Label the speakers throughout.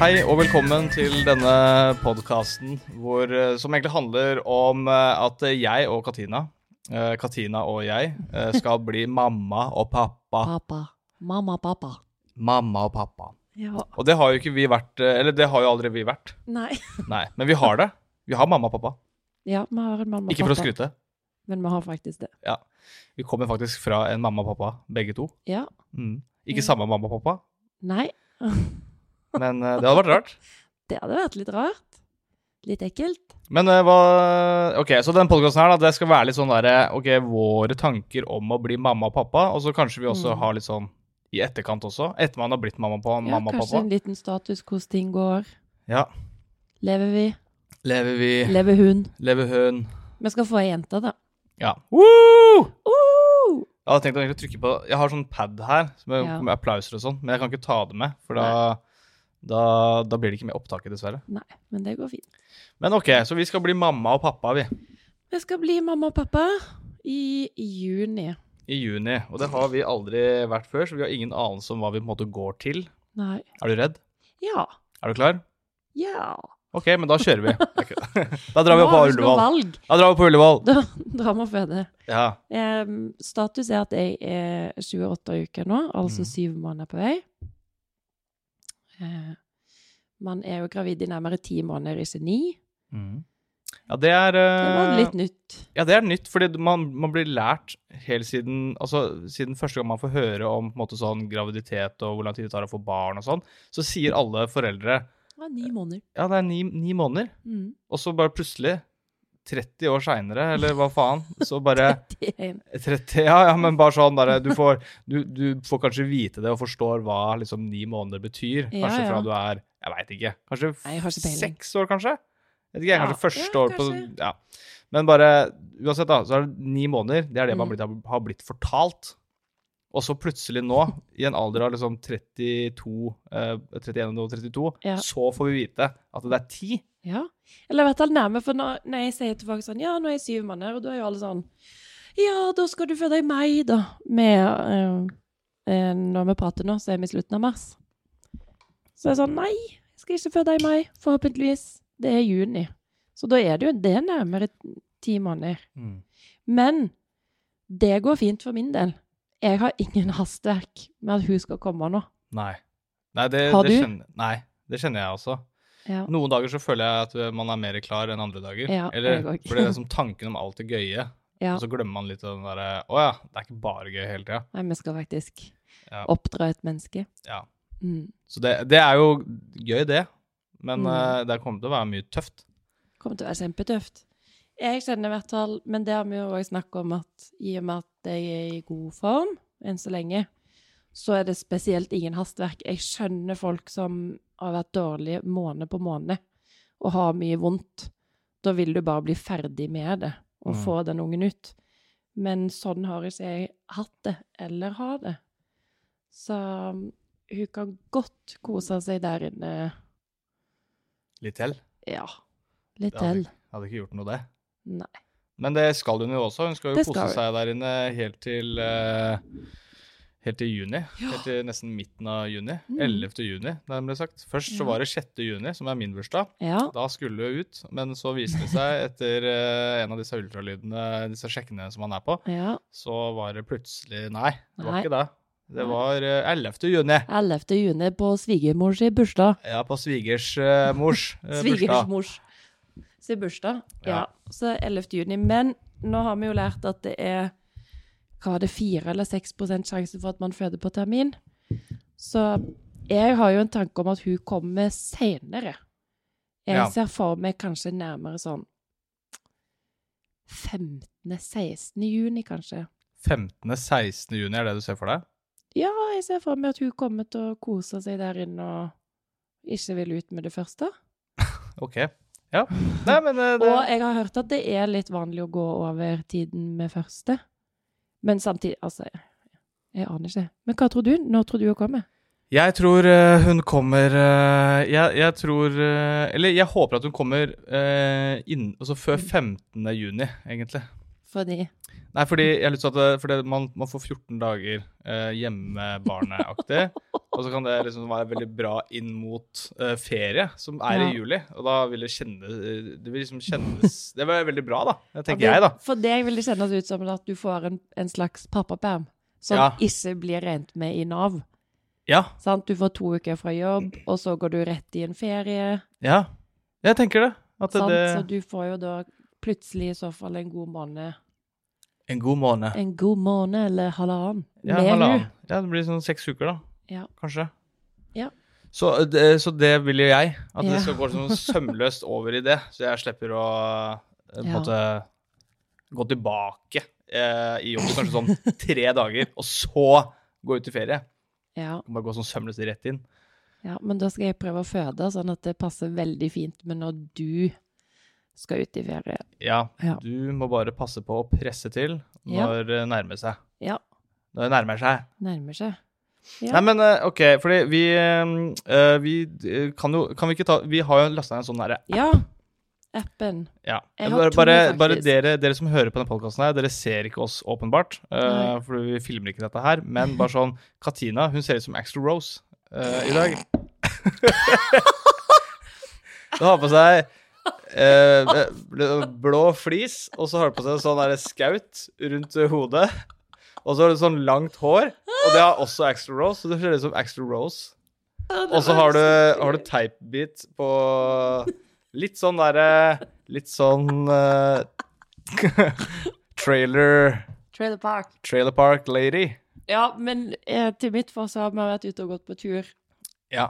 Speaker 1: Hei og velkommen til denne podkasten som egentlig handler om eh, at jeg og Katina, eh, Katina og jeg, eh, skal bli mamma og pappa.
Speaker 2: Pappa. Mamma, pappa.
Speaker 1: Mamma og pappa.
Speaker 2: Ja.
Speaker 1: Og det har jo ikke vi vært, eh, eller det har jo aldri vi vært.
Speaker 2: Nei.
Speaker 1: Nei, men vi har det. Vi har mamma og pappa.
Speaker 2: Ja, vi har en mamma og
Speaker 1: Ikke for
Speaker 2: pappa.
Speaker 1: å skryte.
Speaker 2: Men vi har faktisk det.
Speaker 1: Vi kommer faktisk fra en mamma og pappa, begge to.
Speaker 2: Ja.
Speaker 1: Mm. Ikke
Speaker 2: Ja.
Speaker 1: samme mamma og pappa,
Speaker 2: Nei.
Speaker 1: men eh, det hadde vært rart.
Speaker 2: Det hadde vært litt rart. Litt ekkelt.
Speaker 1: Men eh, hva Ok, så den podkasten her, da, det skal være litt sånn derre Ok, våre tanker om å bli mamma og pappa, og så kanskje vi også
Speaker 2: Mm.
Speaker 1: har litt sånn i etterkant også, etter man har blitt mamma, på,
Speaker 2: Ja,
Speaker 1: mamma og
Speaker 2: kanskje
Speaker 1: pappa.
Speaker 2: en liten status hvordan ting går.
Speaker 1: Ja.
Speaker 2: Lever vi?
Speaker 1: Lever vi,
Speaker 2: Lever hun?
Speaker 1: lever hun
Speaker 2: Vi skal få ei jente, da.
Speaker 1: Ja. Woo!
Speaker 2: Uh!
Speaker 1: Jeg hadde tenkt å egentlig trykke på Jeg har sånn pad her med,
Speaker 2: Ja.
Speaker 1: med applauser og sånn, men jeg kan ikke ta det med, for da, da, da blir det ikke med opptaket, dessverre.
Speaker 2: Nei, men det går fint.
Speaker 1: Men ok, så vi skal bli mamma og pappa, vi.
Speaker 2: Vi skal bli mamma og pappa i juni.
Speaker 1: I juni. Og det har vi aldri vært før, så vi har ingen anelse om hva vi på en måte går til.
Speaker 2: Nei.
Speaker 1: Er du redd?
Speaker 2: Ja.
Speaker 1: Er du klar?
Speaker 2: Ja.
Speaker 1: Ok, men da kjører vi. Det er ikke det. Da drar vi
Speaker 2: Nå
Speaker 1: på
Speaker 2: har vi ikke noe
Speaker 1: Ullevål.
Speaker 2: valg.
Speaker 1: Da drar vi på Ullevål.
Speaker 2: Da drar vi og føder.
Speaker 1: Ja.
Speaker 2: Em, status er at jeg er 28 uker nå, altså
Speaker 1: Mhm.
Speaker 2: syv måneder på vei. Eh, man er jo gravid i nærmere ti måneder, ikke ni.
Speaker 1: Ja, det er
Speaker 2: Det
Speaker 1: eh,
Speaker 2: var litt nytt.
Speaker 1: Ja, det er nytt, fordi man, man blir lært helt siden Altså, siden første gang man får høre om på en måte sånn graviditet og hvor lang tid det tar å få barn og sånn, så sier alle foreldre
Speaker 2: Det var ni måneder.
Speaker 1: Ja, det er ni, ni måneder.
Speaker 2: Mm.
Speaker 1: Og så bare plutselig, 30 år seinere, eller hva faen, så bare
Speaker 2: 31.
Speaker 1: 30, ja, ja, men bare sånn der, du, får, du, du får kanskje vite det og forstår hva liksom ni måneder betyr.
Speaker 2: Ja,
Speaker 1: Kanskje
Speaker 2: ja.
Speaker 1: fra du er Jeg veit ikke. Kanskje
Speaker 2: Nei, jeg har ikke peiling.
Speaker 1: seks år, kanskje? Jeg vet ikke,
Speaker 2: Ja.
Speaker 1: Kanskje første
Speaker 2: Ja,
Speaker 1: år på
Speaker 2: kanskje.
Speaker 1: ja. Men bare Uansett, da, så er det ni måneder. Det er det man
Speaker 2: Mm.
Speaker 1: blitt, har blitt fortalt. Og så plutselig nå, i en alder av liksom 32, eh, 31 og 32,
Speaker 2: Ja.
Speaker 1: så får vi vite at det er ti.
Speaker 2: Ja. Eller i hvert fall nærme, for når, når jeg sier til folk sånn Ja, nå er jeg syv måneder, og da er jo alle sånn Ja, da skal du føde i mai, da. Med, eh, eh, når vi prater nå, så er vi i slutten av mars. Så jeg er sånn Nei, jeg skal ikke føde i mai. Forhåpentligvis. Det er juni. Så da er det jo det er nærmere ti måneder. Men det går fint for min del. Jeg har ingen hastverk med at hun skal komme nå.
Speaker 1: Nei. Nei det,
Speaker 2: Har
Speaker 1: Det
Speaker 2: du?
Speaker 1: kjenner, nei, det kjenner jeg også.
Speaker 2: Ja.
Speaker 1: Noen dager så føler jeg at eh, man er mer klar enn andre dager.
Speaker 2: Ja,
Speaker 1: Eller,
Speaker 2: jeg òg.
Speaker 1: for det er liksom tanken om alt det gøye,
Speaker 2: Ja.
Speaker 1: og så glemmer man litt av den derre Å ja, det er ikke bare gøy hele tida.
Speaker 2: Nei, vi skal faktisk
Speaker 1: Ja.
Speaker 2: oppdra et menneske.
Speaker 1: Ja.
Speaker 2: Mm.
Speaker 1: Så det, det er jo gøy, det. Men
Speaker 2: Mm.
Speaker 1: eh, det kommer til å være mye tøft.
Speaker 2: kommer til å være kjempetøft. Jeg kjenner i hvert fall, men det har vi jo også snakket om, at i og med at jeg er i god form enn så lenge, så er det spesielt ingen hastverk. Jeg skjønner folk som har vært dårlige måned på måned og har mye vondt. Da vil du bare bli ferdig med det og
Speaker 1: Mm.
Speaker 2: få den ungen ut. Men sånn har ikke jeg hatt det, eller har det. Så um, hun kan godt kose seg der inne.
Speaker 1: Litt til.
Speaker 2: Ja, litt
Speaker 1: Det hadde,
Speaker 2: til.
Speaker 1: ikke- hadde ikke gjort noe, det.
Speaker 2: Nei.
Speaker 1: Men det skal hun jo også. Hun skal jo
Speaker 2: Det
Speaker 1: kose
Speaker 2: skal hun.
Speaker 1: seg der inne helt til eh, Helt til juni. Helt til nesten midten av juni.
Speaker 2: Mm.
Speaker 1: 11. juni, nærmere sagt. Først så
Speaker 2: Ja.
Speaker 1: var det 6. juni, som er min bursdag.
Speaker 2: Ja.
Speaker 1: Da skulle hun ut, men så viste det seg etter eh, en av disse ultralydene, disse sjekkene som han er på,
Speaker 2: Ja.
Speaker 1: så var det plutselig Nei, det var
Speaker 2: Nei.
Speaker 1: ikke det. Det
Speaker 2: Nei.
Speaker 1: var eh, 11. juni.
Speaker 2: 11. juni på svigermors i bursdag.
Speaker 1: Ja, på svigers eh, mors eh, bursdag.
Speaker 2: Svigersmors sin bursdag. Ja.
Speaker 1: Ja.
Speaker 2: Så 11. juni. Men nå har vi jo lært at det er hva var det, 4 eller 6 sjanse for at man føder på termin. Så jeg har jo en tanke om at hun kommer senere. Jeg
Speaker 1: Ja.
Speaker 2: ser for meg kanskje nærmere sånn 15.-16. juni, kanskje.
Speaker 1: 15.-16. juni er det du ser for deg?
Speaker 2: Ja, jeg ser for meg at hun kommer til å kose seg der inne og ikke vil ut med det første.
Speaker 1: OK. Ja. Nei, men eh, det
Speaker 2: Og jeg har hørt at det er litt vanlig å gå over tiden med første. Men samtidig Altså, jeg aner ikke. Men hva tror du? Når tror du hun kommer?
Speaker 1: Jeg tror eh, hun kommer eh, jeg, jeg tror eh, Eller jeg håper at hun kommer eh, inn, altså før 15. juni, egentlig.
Speaker 2: Fordi
Speaker 1: Nei, fordi jeg har lyst til at det- fordi man, man får 14 dager eh, hjemmebarneaktig. Og så kan det liksom være veldig bra inn mot eh, ferie, som er
Speaker 2: Ja.
Speaker 1: i juli. Og da vil det kjenne Det vil liksom kjennes Det var veldig bra, da. Det tenker
Speaker 2: Ja,
Speaker 1: jeg,
Speaker 2: det-
Speaker 1: da.
Speaker 2: For deg vil det kjennes ut som at du får en, en slags pappaperm som
Speaker 1: Ja.
Speaker 2: ikke blir regnet med i Nav.
Speaker 1: Ja.
Speaker 2: Sant? Du får to uker fra jobb, og så går du rett i en ferie.
Speaker 1: Ja. Jeg tenker det. At
Speaker 2: Sant?
Speaker 1: det
Speaker 2: Så du får jo da plutselig i så fall en god måned.
Speaker 1: En god måned.
Speaker 2: En god måned eller halvannen.
Speaker 1: Ja,
Speaker 2: med
Speaker 1: halvannen.
Speaker 2: hun.
Speaker 1: Ja, det blir sånn seks uker, da.
Speaker 2: Ja.
Speaker 1: Kanskje.
Speaker 2: Ja.
Speaker 1: Så, eh, det- så det vil jo jeg. At
Speaker 2: Ja.
Speaker 1: det skal gå sånn sømløst over i det, så jeg slipper å eh, på en
Speaker 2: Ja.
Speaker 1: måte gå tilbake eh, i jobb kanskje sånn tre dager, og så gå ut i ferie.
Speaker 2: Ja,
Speaker 1: Kan bare gå sånn sømløst rett inn.
Speaker 2: ja, men da skal jeg prøve å føde, sånn at det passer veldig fint med når du skal ut i ferie.
Speaker 1: Ja,
Speaker 2: Ja.
Speaker 1: du må bare passe på å presse til
Speaker 2: Ja.
Speaker 1: når det nærmer seg.
Speaker 2: Ja,
Speaker 1: Når det nærmer seg.
Speaker 2: nærmer seg. Ja.
Speaker 1: Nei, men eh, OK, fordi vi, eh, eh, vi eh, kan jo Kan vi ikke ta Vi har jo lasta ned en sånn derre
Speaker 2: Ja, appen.
Speaker 1: Ja.
Speaker 2: Jeg har
Speaker 1: Bare,
Speaker 2: to,
Speaker 1: bare, bare
Speaker 2: faktisk.
Speaker 1: dere, dere som hører på denne podkasten her, dere ser ikke oss åpenbart, uh, for vi filmer ikke dette her, men bare sånn Katina, hun ser ut som Axel Rose eh, i dag. Hun har på seg eh, bl- blå flis, og så har hun på seg sånn derre skaut rundt hodet. Og så har du sånn langt hår, og det har også Axel Rose, så det ser ut som Axel Rose. Og så har du, har du teipbit på litt sånn derre Litt sånn eh, Trailer
Speaker 2: Trailer Park.
Speaker 1: Trailer Park Lady.
Speaker 2: Ja, men eh, til mitt forsvar, vi har vært ute og gått på tur
Speaker 1: Ja.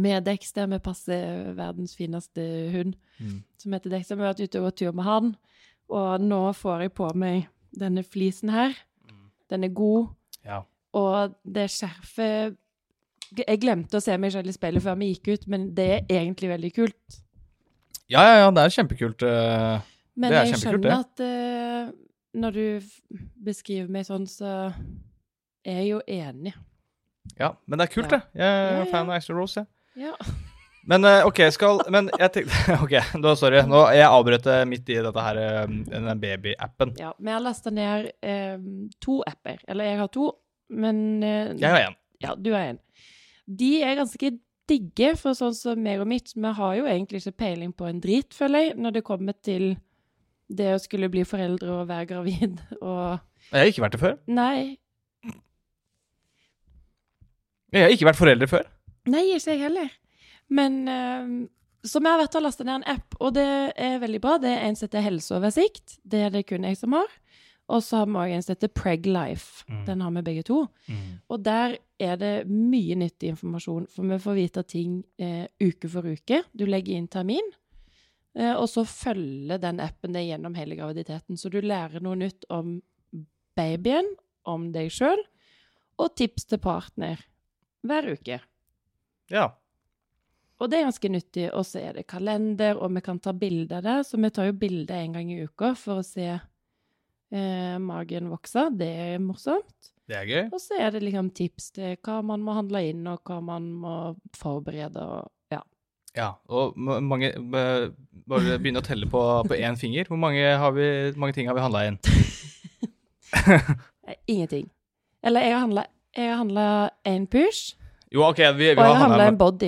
Speaker 2: med Dexter. Vi passer verdens fineste hund,
Speaker 1: Mm.
Speaker 2: som heter Dexter. Vi har vært ute og gått tur med han, og nå får jeg på meg denne flisen her. Den er god,
Speaker 1: Ja.
Speaker 2: og det skjerfet Jeg glemte å se meg selv i speilet før vi gikk ut, men det er egentlig veldig kult.
Speaker 1: ja, ja, ja, det er kjempekult. eh.
Speaker 2: Men
Speaker 1: Det er
Speaker 2: jeg
Speaker 1: kjempekult,
Speaker 2: skjønner at eh, når du f- beskriver meg sånn, så er jeg jo enig.
Speaker 1: ja, men det er kult,
Speaker 2: Ja.
Speaker 1: det. Jeg
Speaker 2: Ja,
Speaker 1: er
Speaker 2: ja.
Speaker 1: fan av Axel Rose, jeg.
Speaker 2: Ja.
Speaker 1: Men eh, OK, skal Men jeg tenkte OK, da, sorry. Nå, jeg avbrøt det midt i dette her, eh, denne babyappen.
Speaker 2: Ja, vi har lasta ned eh, to apper. Eller jeg har to, men eh,
Speaker 1: Jeg har én.
Speaker 2: ja, du har én. De er ganske digge, for sånn som meg og mitt, vi har jo egentlig ikke peiling på en drit, føler jeg, når det kommer til det å skulle bli foreldre og være gravid og
Speaker 1: Jeg har ikke vært det før.
Speaker 2: Nei.
Speaker 1: Jeg har ikke vært forelder før.
Speaker 2: Nei, ikke jeg heller. Men eh, Så vi har vært og lasta ned en app, og det er veldig bra. Det er en som heter Helseoversikt. Det er det kun jeg som har. Og så har vi òg en som heter Preglife.
Speaker 1: Mm.
Speaker 2: Den har vi begge to. Og der er det mye nyttig informasjon, for vi får vite ting eh, uke for uke. Du legger inn termin, eh, og så følger den appen deg gjennom hele graviditeten. Så du lærer noe nytt om babyen, om deg sjøl, og tips til partner hver uke.
Speaker 1: Ja.
Speaker 2: Og det er ganske nyttig. Og så er det kalender, og vi kan ta bilde av det. Så vi tar jo bilde en gang i uka for å se eh, magen vokse. Det er morsomt.
Speaker 1: Det er gøy.
Speaker 2: Og så er det liksom tips til hva man må handle inn, og hva man må forberede. Og, ja.
Speaker 1: Ja, og ma- mange ma- Bare begynne å telle på, på én finger. Hvor mange, har vi, hvor mange ting har vi handla inn?
Speaker 2: Eh, Ingenting. Eller jeg har handla- jeg har handla én pysj,
Speaker 1: Jo, OK, vi, vi
Speaker 2: og jeg
Speaker 1: har
Speaker 2: har handla en
Speaker 1: handla
Speaker 2: body.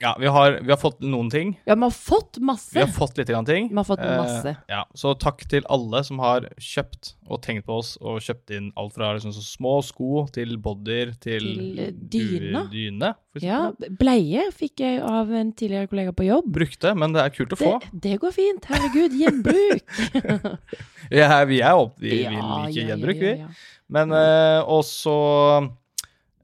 Speaker 1: Ja, vi har, vi har fått noen ting.
Speaker 2: Ja, vi har fått
Speaker 1: Vi
Speaker 2: masse.
Speaker 1: har fått litt grann ting.
Speaker 2: Vi har fått
Speaker 1: Eh,
Speaker 2: masse.
Speaker 1: ja, så takk til alle som har kjøpt og tenkt på oss og kjøpt inn alt fra liksom, så små sko til bodyer til,
Speaker 2: Til, eh,
Speaker 1: du-
Speaker 2: dyne.
Speaker 1: dyne for
Speaker 2: Ja,
Speaker 1: eksempel.
Speaker 2: Bleier fikk jeg av en tidligere kollega på jobb.
Speaker 1: Brukte, men det er kult å
Speaker 2: Det,
Speaker 1: få.
Speaker 2: det går fint. Herregud, gjenbruk.
Speaker 1: Ja, vi er opp, vi vil
Speaker 2: Ja,
Speaker 1: ikke
Speaker 2: ja, ja,
Speaker 1: gjenbruk, vi.
Speaker 2: ja, Mm. ja.
Speaker 1: Men eh, og så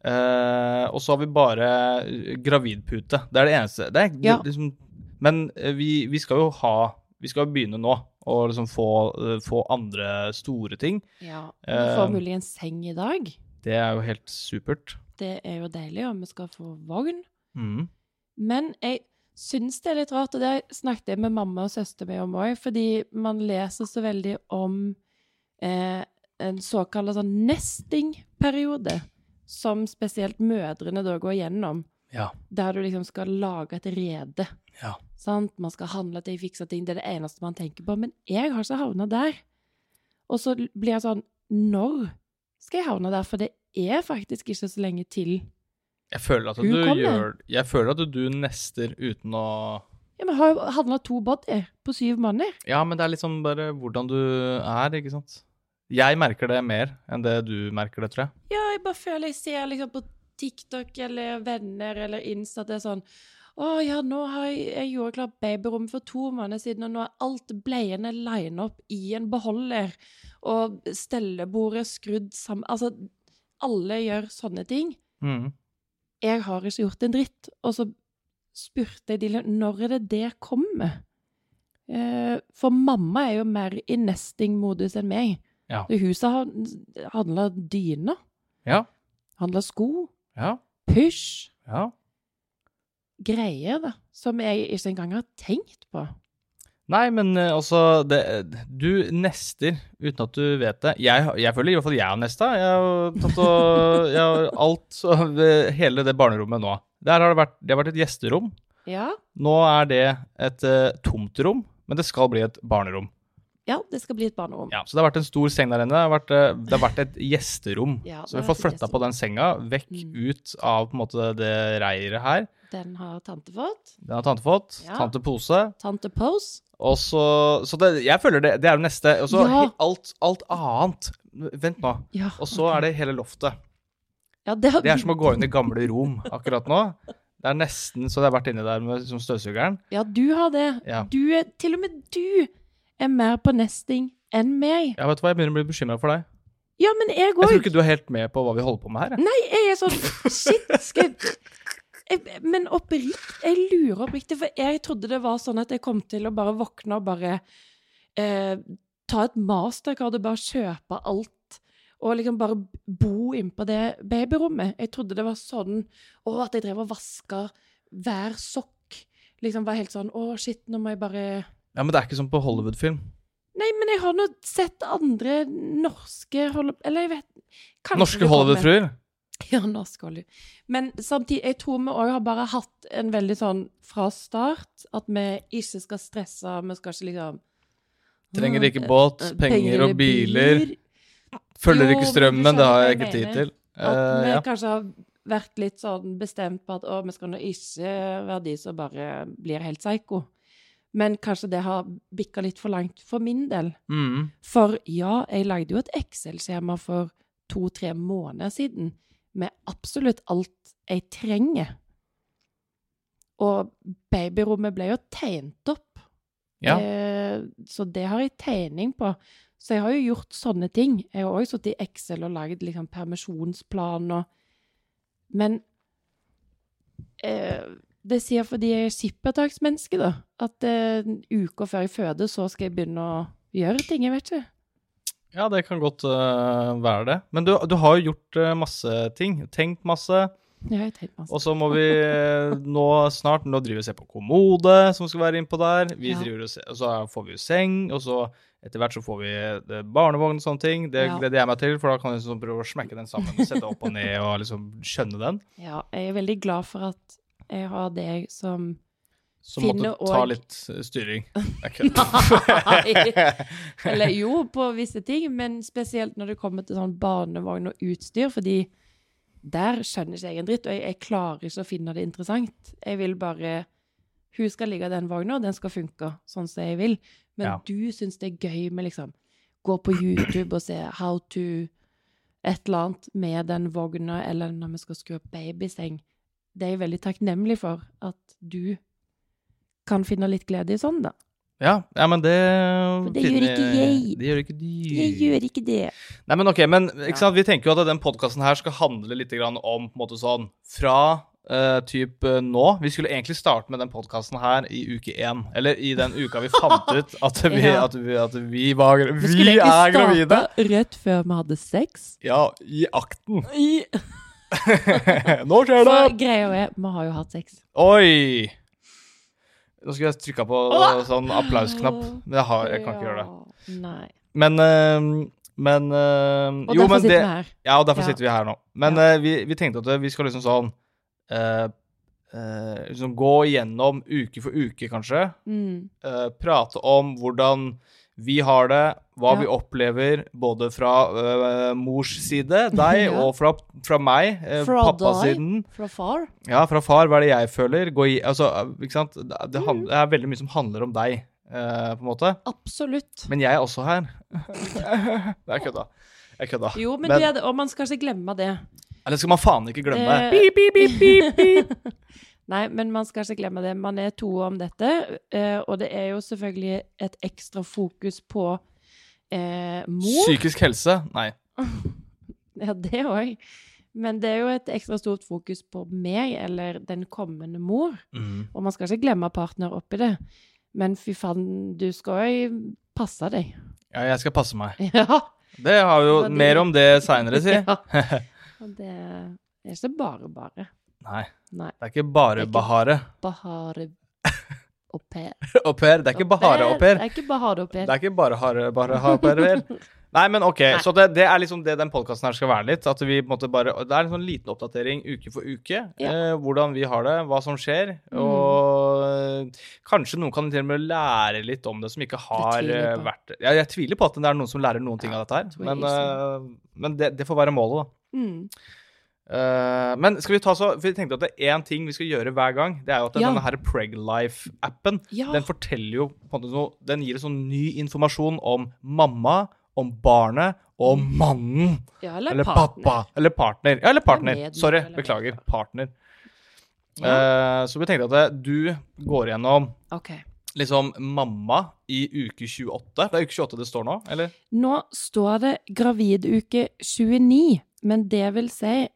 Speaker 1: eh, Og så har vi bare eh, gravidpute. Det er det eneste. Det er, det,
Speaker 2: Ja.
Speaker 1: liksom, men eh, vi, vi skal jo ha Vi skal jo begynne nå å liksom få, eh, få andre store ting.
Speaker 2: Ja. Vi får
Speaker 1: Eh,
Speaker 2: muligens seng i dag.
Speaker 1: Det er jo helt supert.
Speaker 2: Det er jo deilig, og vi skal få vogn.
Speaker 1: Mm.
Speaker 2: Men jeg syns det er litt rart, og det snakket jeg med mamma og søster min om òg, fordi man leser så veldig om eh, en såkalt sånn nestingperiode, som spesielt mødrene da går gjennom,
Speaker 1: Ja.
Speaker 2: der du liksom skal lage et rede.
Speaker 1: Ja.
Speaker 2: Sant? Man skal handle ting, fikse ting, det er det eneste man tenker på. Men jeg har ikke havna der. Og så blir jeg sånn Når skal jeg havne der? For det er faktisk ikke så lenge til
Speaker 1: Jeg føler at
Speaker 2: Hun
Speaker 1: du
Speaker 2: kom, ja.
Speaker 1: gjør Jeg føler at du nester uten å
Speaker 2: Ja, men har jo handla to body på syv måneder.
Speaker 1: Ja, men det er liksom bare hvordan du er, ikke sant? Jeg merker det mer enn det du merker det, tror jeg.
Speaker 2: Ja, jeg bare føler jeg ser liksom på TikTok eller venner eller Insta at det er sånn Å ja, nå har jeg, jeg gjorde klart babyrommet for to måneder siden, og nå er alt bleiene lina opp i en beholder, og stellebordet skrudd sammen Altså, alle gjør sånne ting.
Speaker 1: Mhm.
Speaker 2: Jeg har ikke gjort en dritt. Og så spurte jeg de når er det det kommer. Eh, For mamma er jo mer i nesting-modus enn meg.
Speaker 1: Ja.
Speaker 2: Det Huset har handla dyner,
Speaker 1: Ja.
Speaker 2: handla sko,
Speaker 1: Ja.
Speaker 2: pysj,
Speaker 1: Ja.
Speaker 2: greier, da, som jeg ikke engang har tenkt på.
Speaker 1: Nei, men eh, altså det, Du nester uten at du vet det. Jeg, har- jeg føler i hvert fall jeg har nesta. Jeg har tatt og jeg har alt av eh, hele det barnerommet nå. Der har det vært, det har vært et gjesterom.
Speaker 2: Ja,
Speaker 1: Nå er det et eh, tomt rom, men det skal bli et barnerom.
Speaker 2: ja det skal bli et barnerom.
Speaker 1: Ja, så det har vært en stor seng der inne. Det har vært, eh, det har vært et gjesterom.
Speaker 2: Ja, det
Speaker 1: så vi
Speaker 2: har
Speaker 1: får
Speaker 2: vært et
Speaker 1: flytta på den senga vekk
Speaker 2: Mm.
Speaker 1: ut av på en måte det reiret her.
Speaker 2: Den har tante fått.
Speaker 1: Den har tante fått.
Speaker 2: Ja.
Speaker 1: Tante pose.
Speaker 2: Tante Pose.
Speaker 1: Og så Så det, jeg føler det, det er jo neste. Og så
Speaker 2: Ja.
Speaker 1: he- alt, alt annet. Vent nå.
Speaker 2: Ja,
Speaker 1: Og så er det hele loftet.
Speaker 2: ja, det, har,
Speaker 1: Det er som å gå inn i gamle rom akkurat nå. Det er nesten så det har vært inni der med liksom støvsugeren.
Speaker 2: ja, du har det.
Speaker 1: Ja.
Speaker 2: Du er, til og med du er mer på nesting enn meg.
Speaker 1: Ja, vet du hva, jeg begynner å bli bekymra for deg.
Speaker 2: Ja, men jeg
Speaker 1: Jeg
Speaker 2: òg.
Speaker 1: tror ikke du er helt med på hva vi holder på med her. jeg.
Speaker 2: Nei, jeg er sånn Shit, skal jeg jeg- Men oppriktig Jeg lurer oppriktig, for jeg trodde det var sånn at jeg kom til å bare våkne og bare eh, ta et mastercard og bare kjøpe alt. Og liksom bare bo innpå det babyrommet. Jeg trodde det var sånn Å, at jeg drev og vaska hver sokk. Liksom var helt sånn Å, shit, nå må jeg bare
Speaker 1: Ja, Men det er ikke som på Hollywood-film.
Speaker 2: Nei, men jeg har nå sett andre norske holde... Eller jeg vet kanskje det
Speaker 1: Norske
Speaker 2: kommer.
Speaker 1: Hollywood-fruer.
Speaker 2: Ja, norsk olje. Men samtidig, jeg tror vi òg har bare hatt en veldig sånn fra start at vi ikke skal stresse, vi skal ikke liksom
Speaker 1: Trenger ikke båt,
Speaker 2: Eh,
Speaker 1: penger og
Speaker 2: eller
Speaker 1: biler.
Speaker 2: biler.
Speaker 1: Følger
Speaker 2: Jo,
Speaker 1: ikke
Speaker 2: men du
Speaker 1: strømmen, det
Speaker 2: skjønner
Speaker 1: har
Speaker 2: hva
Speaker 1: jeg
Speaker 2: jeg
Speaker 1: ikke tid
Speaker 2: mener.
Speaker 1: til.
Speaker 2: At vi
Speaker 1: Eh, ja.
Speaker 2: kanskje har vært litt sånn bestemt på at å, vi skal nå ikke være de som bare blir helt psyko. Men kanskje det har bikka litt for langt for min del.
Speaker 1: Mm.
Speaker 2: For ja, jeg lagde jo et Excel-skjema for to-tre måneder siden med absolutt alt jeg trenger. Og babyrommet ble jo tegnet opp,
Speaker 1: ja.
Speaker 2: eh, så det har jeg tegning på. Så jeg har jo gjort sånne ting. Jeg har også sittet i Excel og laget liksom permisjonsplan og Men eh, det sier fordi jeg er skippertaksmenneske, da. At eh, uka før jeg føder, så skal jeg begynne å gjøre ting. Jeg vet ikke.
Speaker 1: Ja, det kan godt øh, være det. Men du, du har jo gjort øh, masse ting. Tenkt masse.
Speaker 2: Ja, jeg tenkte masse.
Speaker 1: Og så må vi øh, nå snart Nå driver vi og ser på kommode som skal være innpå der. Vi
Speaker 2: Ja.
Speaker 1: driver og, se, og så får vi jo seng, og så etter hvert så får vi øh, barnevogn og sånne ting. Det
Speaker 2: Ja.
Speaker 1: gleder jeg meg til, for da kan jeg liksom prøve å smekke den sammen. Sette opp og ned og liksom skjønne den.
Speaker 2: Ja, jeg er veldig glad for at jeg har deg som
Speaker 1: Så måtte
Speaker 2: Finne
Speaker 1: du ta
Speaker 2: og-
Speaker 1: litt øh, styring. Ok.
Speaker 2: Nei. Eller jo, på visse ting, men spesielt når det kommer til sånn barnevogn og utstyr, fordi der skjønner ikke jeg en dritt, og jeg, jeg klarer ikke å finne det interessant. Jeg vil bare Hun skal ligge i den vogna, og den skal funke sånn som jeg vil. Men
Speaker 1: Ja.
Speaker 2: du syns det er gøy med liksom Gå på YouTube og se how to et eller annet med den vogna, eller når vi skal skru opp babyseng. Det er jeg veldig takknemlig for, at du kan finne litt glede i sånn, da.
Speaker 1: Ja, ja, men det
Speaker 2: For det gjør ikke jeg.
Speaker 1: Det gjør ikke du.
Speaker 2: Jeg gjør ikke det.
Speaker 1: Nei, men ok, men
Speaker 2: Ja.
Speaker 1: ikke sant? vi tenker jo at den podkasten her skal handle litt grann om på en måte sånn fra eh, typ eh, nå. Vi skulle egentlig starte med den podkasten her i uke én. Eller i den uka vi fant ut at vi,
Speaker 2: Ja.
Speaker 1: at vi, at vi var gra-
Speaker 2: Vi
Speaker 1: Vi
Speaker 2: skulle ikke
Speaker 1: er
Speaker 2: starte
Speaker 1: gravide!
Speaker 2: rett før vi hadde sex.
Speaker 1: Ja, i akten.
Speaker 2: I,
Speaker 1: nå skjer det!
Speaker 2: for greia er, vi har jo hatt sex.
Speaker 1: Oi! Nå skulle jeg trykka på
Speaker 2: Åh!
Speaker 1: sånn applausknapp, men jeg, har, jeg kan ikke gjøre det.
Speaker 2: Ja, Nei.
Speaker 1: Men eh, men eh,
Speaker 2: Og
Speaker 1: jo,
Speaker 2: derfor
Speaker 1: men
Speaker 2: sitter
Speaker 1: det,
Speaker 2: vi her.
Speaker 1: Ja, og derfor
Speaker 2: Ja.
Speaker 1: sitter vi her nå. Men
Speaker 2: Ja.
Speaker 1: eh, vi, vi tenkte at vi skal liksom sånn eh, eh, liksom Gå igjennom uke for uke, kanskje.
Speaker 2: Mm.
Speaker 1: eh, prate om hvordan vi har det, hva
Speaker 2: Ja.
Speaker 1: vi opplever både fra øh, mors side, deg,
Speaker 2: Ja.
Speaker 1: og fra, fra meg, øh,
Speaker 2: Fra
Speaker 1: pappasiden.
Speaker 2: Fra far?
Speaker 1: Ja, fra far. Hva er det jeg føler? Gå i, altså, ikke sant? Det,
Speaker 2: Mm.
Speaker 1: det, han- det er veldig mye som handler om deg, øh, på en måte.
Speaker 2: Absolutt.
Speaker 1: Men jeg er også her. Det er kødda. Jeg kødda.
Speaker 2: Jo, men,
Speaker 1: Men-
Speaker 2: du er det, og man skal ikke glemme det.
Speaker 1: Eller skal man faen ikke glemme?
Speaker 2: Eh,
Speaker 1: Pip, pip, pip, pip, pip.
Speaker 2: Nei, men man skal ikke glemme det. Man er to om dette, eh, og det er jo selvfølgelig et ekstra fokus på eh, mor.
Speaker 1: Psykisk helse? Nei.
Speaker 2: Ja, det òg. Men det er jo et ekstra stort fokus på meg, eller den kommende mor. Og man skal ikke glemme partner oppi det. Men fy faen, du skal jo passe deg.
Speaker 1: Ja, jeg skal passe meg.
Speaker 2: Ja.
Speaker 1: Det har vi jo
Speaker 2: Fordi-
Speaker 1: mer om det seinere, si.
Speaker 2: Ja. Og det er ikke bare bare.
Speaker 1: Nei.
Speaker 2: Nei.
Speaker 1: Det er ikke bare
Speaker 2: Det er ikke-
Speaker 1: Bahare
Speaker 2: Bahare au pair.
Speaker 1: au pair. Det er ikke Bahare au pair.
Speaker 2: Det er ikke Bahare au
Speaker 1: Det
Speaker 2: pair.
Speaker 1: er ikke bare Hare bare au pair. vel? Nei, men OK.
Speaker 2: Nei.
Speaker 1: Så det, det er liksom det den podkasten her skal være litt. At vi på en måte bare Det er en sånn liten oppdatering uke for uke.
Speaker 2: Ja.
Speaker 1: Eh, hvordan vi har det, hva som skjer.
Speaker 2: Mm.
Speaker 1: Og eh, kanskje noen kan til og med lære litt om det som ikke har
Speaker 2: tviler jeg
Speaker 1: eh,
Speaker 2: på.
Speaker 1: vært ja, Jeg tviler på at det er noen som lærer noen ting
Speaker 2: Ja,
Speaker 1: av dette her.
Speaker 2: tror jeg
Speaker 1: Men, eh, men det, det får være målet, da.
Speaker 2: Mm.
Speaker 1: Eh, men skal vi ta så For jeg tenkte at det er én ting vi skal gjøre hver gang. Det er jo at
Speaker 2: Ja.
Speaker 1: denne her Preglife-appen
Speaker 2: Ja.
Speaker 1: den forteller jo på en måte noe, Den gir oss sånn ny informasjon om mamma, om barnet og om mannen.
Speaker 2: ja,
Speaker 1: Eller pappa. Eller partner. Ja, eller partner.
Speaker 2: medmenneske
Speaker 1: Sorry,
Speaker 2: eller
Speaker 1: beklager. Partner.
Speaker 2: Ja.
Speaker 1: Eh, så vi tenkte at det- du går gjennom
Speaker 2: OK.
Speaker 1: liksom mamma i uke 28. Det er uke 28 det står nå, eller?
Speaker 2: Nå står det graviduke 29, men det vil si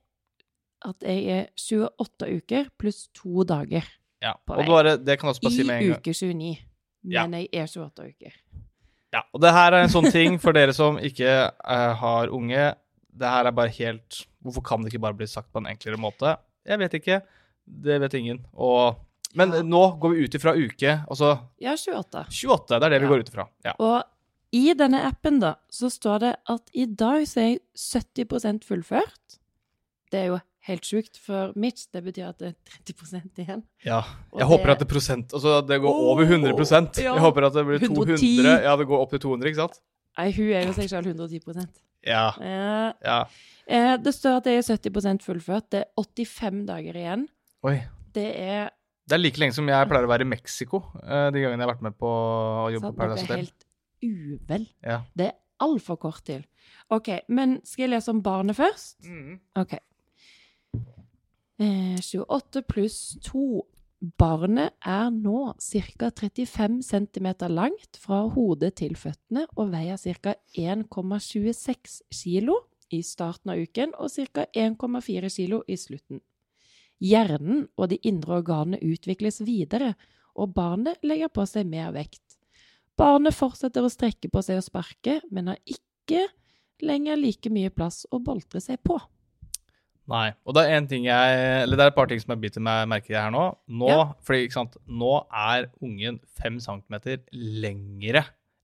Speaker 2: at jeg er 28 uker pluss to dager
Speaker 1: Ja.
Speaker 2: På
Speaker 1: Og
Speaker 2: vei.
Speaker 1: bare, det kan jeg også
Speaker 2: i
Speaker 1: bare si med en gang.
Speaker 2: uke 29.
Speaker 1: Ja.
Speaker 2: Men jeg er 28 uker.
Speaker 1: Ja, og det her er en sånn ting for dere som ikke eh, har unge. Det her er bare helt Hvorfor kan det ikke bare bli sagt på en enklere måte? Jeg vet ikke. Det vet ingen. Og, men
Speaker 2: Ja.
Speaker 1: nå går vi ut ifra uke Altså
Speaker 2: Ja, 28.
Speaker 1: 28, det er det vi
Speaker 2: Ja.
Speaker 1: går ut ifra. Ja.
Speaker 2: Og i denne appen da, så står det at i dag så er jeg 70 fullført. Det er jo helt sjukt for mitt, det betyr at det er 30 igjen.
Speaker 1: ja.
Speaker 2: Og
Speaker 1: Jeg håper at det er prosent Altså, det går over 100
Speaker 2: Ja.
Speaker 1: Jeg håper at det blir
Speaker 2: 110.
Speaker 1: 200. Ja, det går opp til 200, ikke sant?
Speaker 2: Nei, hun er jo seg sjøl 110
Speaker 1: Ja.
Speaker 2: eh,
Speaker 1: ja.
Speaker 2: eh, Det står at jeg er 70 fullført. Det er 85 dager igjen.
Speaker 1: Oi.
Speaker 2: Det er
Speaker 1: Det er like lenge som jeg pleier å være i Mexico eh, de gangene jeg har vært med på å jobbe
Speaker 2: sant,
Speaker 1: på Paradise
Speaker 2: Dette Sånn, er
Speaker 1: Hotel.
Speaker 2: helt uvel.
Speaker 1: Ja.
Speaker 2: Det er altfor kort til. OK, men skal jeg lese om barnet først?
Speaker 1: Mm.
Speaker 2: Ok. Eh, 28 pluss 2. Barnet er nå ca. 35 cm langt fra hodet til føttene og veier ca. 1,26 kg i starten av uken og ca. 1,4 kg i slutten. Hjernen og de indre organene utvikles videre, og barnet legger på seg mer vekt. Barnet fortsetter å strekke på seg og sparke, men har ikke lenger like mye plass å boltre seg på.
Speaker 1: Nei. Og det er en ting jeg Eller det er et par ting som jeg biter meg merke i her nå. Nå,
Speaker 2: Ja.
Speaker 1: fordi, ikke sant? nå er ungen fem centimeter lengre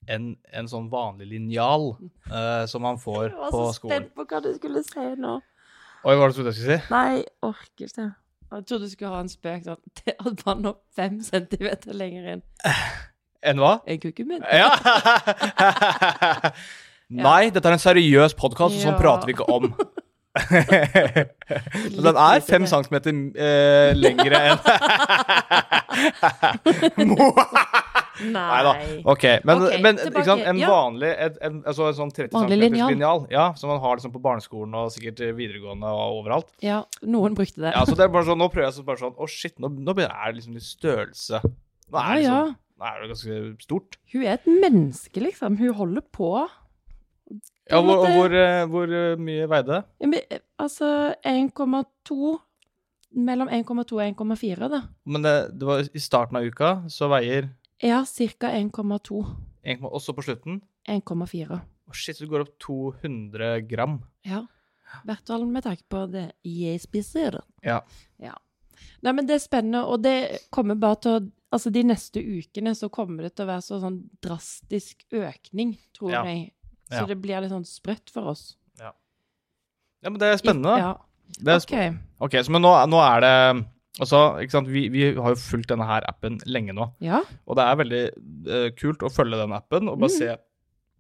Speaker 1: enn en sånn vanlig linjal eh, som man får
Speaker 2: Jeg var
Speaker 1: på
Speaker 2: så
Speaker 1: skolen.
Speaker 2: spent på hva du skulle si nå.
Speaker 1: Oi, hva var det du trodde jeg skulle si?
Speaker 2: Nei, orker ikke. Jeg trodde du skulle ha en spøk sånn det at man når fem centimeter lenger inn
Speaker 1: Enn hva?
Speaker 2: enn kukken min.
Speaker 1: Ja! Nei, dette er en seriøs podkast, og sånn
Speaker 2: Ja.
Speaker 1: prater vi ikke om. Men den er fem centimeter eh, lengre enn Nei da. OK. Men,
Speaker 2: Ok,
Speaker 1: men
Speaker 2: tilbake.
Speaker 1: ikke sant? en
Speaker 2: Ja.
Speaker 1: vanlig et, en, altså en sånn 30
Speaker 2: Vanlig
Speaker 1: cm
Speaker 2: linjal.
Speaker 1: linjal, ja, som man har liksom på barneskolen og sikkert videregående og overalt.
Speaker 2: Ja, noen brukte det.
Speaker 1: Ja, så det er bare sånn, Nå prøver jeg så bare sånn Å, shit, nå, nå begynner- er det liksom litt størrelse. Nå er, det
Speaker 2: ja,
Speaker 1: liksom,
Speaker 2: ja.
Speaker 1: nå er det ganske stort.
Speaker 2: Hun er et menneske, liksom. Hun holder på.
Speaker 1: Ja,
Speaker 2: en
Speaker 1: hvor, og
Speaker 2: måte-
Speaker 1: hvor, eh, hvor eh, mye veide det?
Speaker 2: Ja, men, eh, Altså 1,2 Mellom 1,2 og 1,4, da.
Speaker 1: Men det, det var i starten av uka, så veier
Speaker 2: Ja, ca. 1,2.
Speaker 1: 1,8 Og så på slutten
Speaker 2: 1,4.
Speaker 1: Å, shit, du går opp 200 gram.
Speaker 2: Ja. I hvert fall med tanke på det jeg spiser.
Speaker 1: Ja.
Speaker 2: ja. Nei, men det er spennende, og det kommer bare til å Altså, de neste ukene så kommer det til å være så sånn drastisk økning, tror
Speaker 1: Ja.
Speaker 2: jeg. Så
Speaker 1: Ja.
Speaker 2: det blir litt sånn sprøtt for oss.
Speaker 1: Ja, men det er spennende. da.
Speaker 2: Ja.
Speaker 1: Det er
Speaker 2: OK.
Speaker 1: Ok, så men nå, nå er det Altså, ikke sant, vi, vi har jo fulgt denne her appen lenge nå,
Speaker 2: Ja.
Speaker 1: og det er veldig eh, kult å følge den appen og bare
Speaker 2: Mm.
Speaker 1: se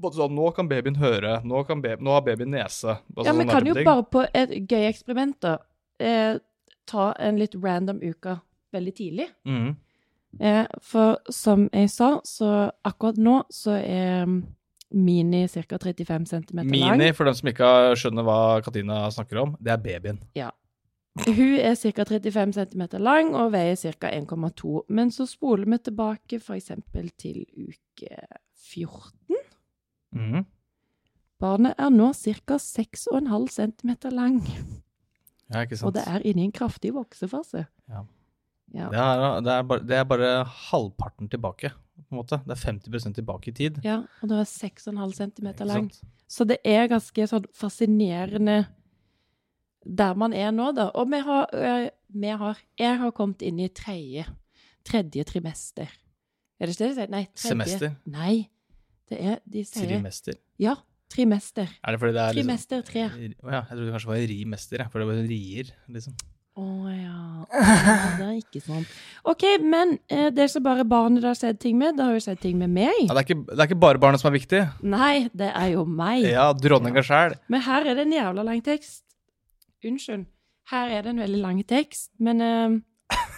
Speaker 1: Både sånn, Nå kan babyen høre. Nå, kan baby, nå har babyen nese. altså
Speaker 2: ja,
Speaker 1: sånn
Speaker 2: vi
Speaker 1: der
Speaker 2: kan
Speaker 1: type
Speaker 2: jo
Speaker 1: ting.
Speaker 2: bare på et gøy eksperiment, da, eh, ta en litt random uke veldig tidlig.
Speaker 1: Mhm.
Speaker 2: Eh, for som jeg sa, så akkurat nå så er Mini ca. 35 cm lang.
Speaker 1: Mini, for dem som ikke har- skjønner hva Katina snakker om, det er babyen.
Speaker 2: Hun er ca. 35 cm lang og veier ca. 1,2. Men så spoler vi tilbake f.eks. til uke 14.
Speaker 1: Mhm.
Speaker 2: Barnet er nå ca. 6,5 cm lang,
Speaker 1: Ja, ikke sant.
Speaker 2: og det er inne i en kraftig voksefase.
Speaker 1: Ja.
Speaker 2: Ja.
Speaker 1: Det er, det, er bare, det er bare halvparten tilbake, på en måte. Det er 50 tilbake i tid.
Speaker 2: Ja, og da er 6,5 cm
Speaker 1: Ikke
Speaker 2: lang.
Speaker 1: sant?
Speaker 2: Så det er ganske sånn fascinerende der man er nå, da. Og vi har, øh, vi har Jeg har kommet inn i tredje, tredje trimester. Er det ikke det de sier? Nei, tredje.
Speaker 1: Semester.
Speaker 2: Nei. Det er De sier
Speaker 1: Trimester.
Speaker 2: Ja, trimester.
Speaker 1: Er det fordi det er liksom
Speaker 2: Trimester tre.
Speaker 1: Å ja, jeg trodde kanskje det var rimester, jeg, for det var en rier, liksom.
Speaker 2: Å ja. Ja, Det er ikke sånn. OK, men eh, det er ikke bare barnet det har skjedd ting med, det har jo skjedd ting med
Speaker 1: Ja,
Speaker 2: meg.
Speaker 1: det, er ikke, det er ikke bare barnet som er viktig.
Speaker 2: Nei, det er jo meg.
Speaker 1: Ja, dronninga sjæl.
Speaker 2: Men her er det en jævla lang tekst. Unnskyld. Her er det en veldig lang tekst, men eh,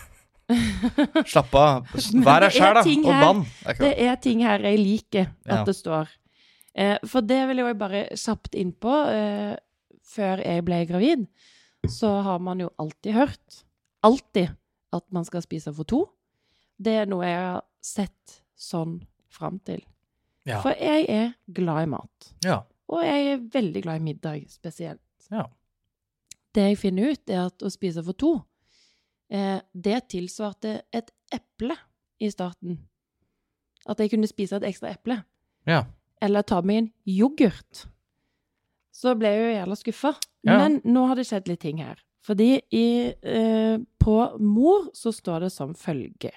Speaker 1: Slapp av.
Speaker 2: Men
Speaker 1: Vær deg
Speaker 2: det er
Speaker 1: sjæl, da.
Speaker 2: ting
Speaker 1: Og
Speaker 2: her.
Speaker 1: bann. Det er ikke
Speaker 2: det er ting her jeg liker at
Speaker 1: Ja.
Speaker 2: det står. Eh, for det vil jeg jo bare kjapt inn på. Eh, før jeg ble gravid, så har man jo alltid hørt, alltid, at man skal spise for to. Det er noe jeg har sett sånn fram til.
Speaker 1: Ja.
Speaker 2: For jeg er glad i mat.
Speaker 1: Ja.
Speaker 2: Og jeg er veldig glad i middag spesielt.
Speaker 1: Ja.
Speaker 2: Det jeg finner ut, er at å spise for to, eh, det tilsvarte et eple i starten. At jeg kunne spise et ekstra eple.
Speaker 1: Ja.
Speaker 2: Eller ta meg en yoghurt. Så ble jeg jo jævla skuffa.
Speaker 1: Ja.
Speaker 2: Men nå har det skjedd litt ting her. Fordi i, eh, på mor så står det som følger